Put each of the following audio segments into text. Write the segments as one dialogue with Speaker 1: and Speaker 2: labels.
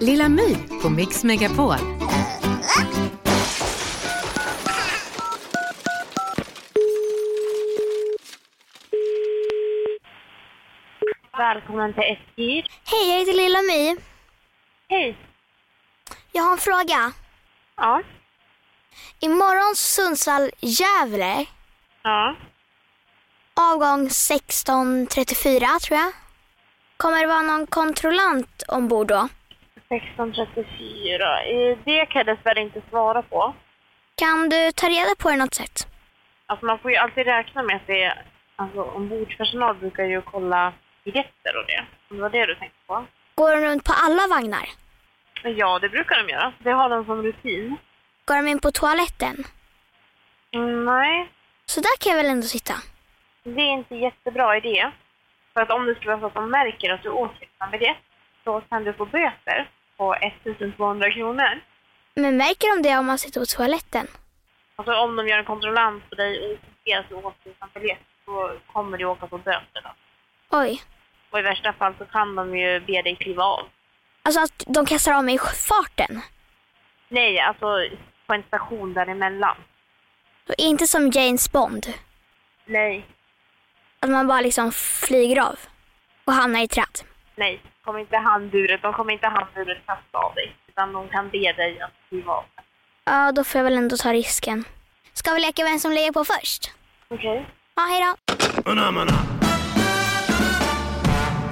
Speaker 1: Lilla My på Mix Megapol.
Speaker 2: Välkommen till SJ.
Speaker 3: Hej, jag heter Lilla My.
Speaker 2: Hej.
Speaker 3: Jag har en fråga.
Speaker 2: Ja.
Speaker 3: Imorgon Sundsvall-Gävle,
Speaker 2: Ja.
Speaker 3: avgång 16.34 tror jag. Kommer det vara någon kontrollant ombord då?
Speaker 2: 1634. Eh, Det kan jag dessvärre inte svara på.
Speaker 3: Kan du ta reda på det något sätt?
Speaker 2: Alltså man får ju alltid räkna med att det är... Alltså ombordpersonal brukar ju kolla biljetter och det. Om det var det du tänkte på.
Speaker 3: Går de runt på alla vagnar?
Speaker 2: Men Ja, det brukar de göra. Det har de som rutin.
Speaker 3: Går de in på toaletten?
Speaker 2: Mm, Nej,
Speaker 3: Så där kan jag väl ändå sitta?
Speaker 2: det är inte jättebra idé. För att om det skulle vara så att de märker att du åker utan biljett, då kan du få böter på 1200 kronor.
Speaker 3: Men märker de det om man sitter på toaletten?
Speaker 2: Alltså om de gör en kontrollant på dig och insisterar att du åker utan biljett, då kommer du åka på böter. Då.
Speaker 3: Oj.
Speaker 2: Och i värsta fall så kan de ju be dig kliva av.
Speaker 3: Alltså att de kastar av mig i farten.
Speaker 2: Nej, alltså på en station däremellan.
Speaker 3: Och inte som James Bond.
Speaker 2: Nej,
Speaker 3: Att man bara liksom flyger av och hamnar i träd.
Speaker 2: nej. Kommer inte handburet, de kommer inte handburet kasta av dig. Utan de kan be dig att kliva av.
Speaker 3: Ja, då får jag väl ändå ta risken. Ska vi leka vem som lägger på först?
Speaker 2: Okej.
Speaker 3: Ja, hej då.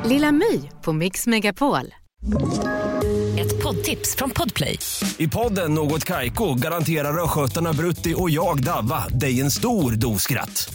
Speaker 1: Lilla My på Mix Megapol.
Speaker 4: Ett poddtips från Podplay.
Speaker 5: I podden Något Kaiko garanterar östgötarna Brutti och jag, Davva, dig en stor dos skratt.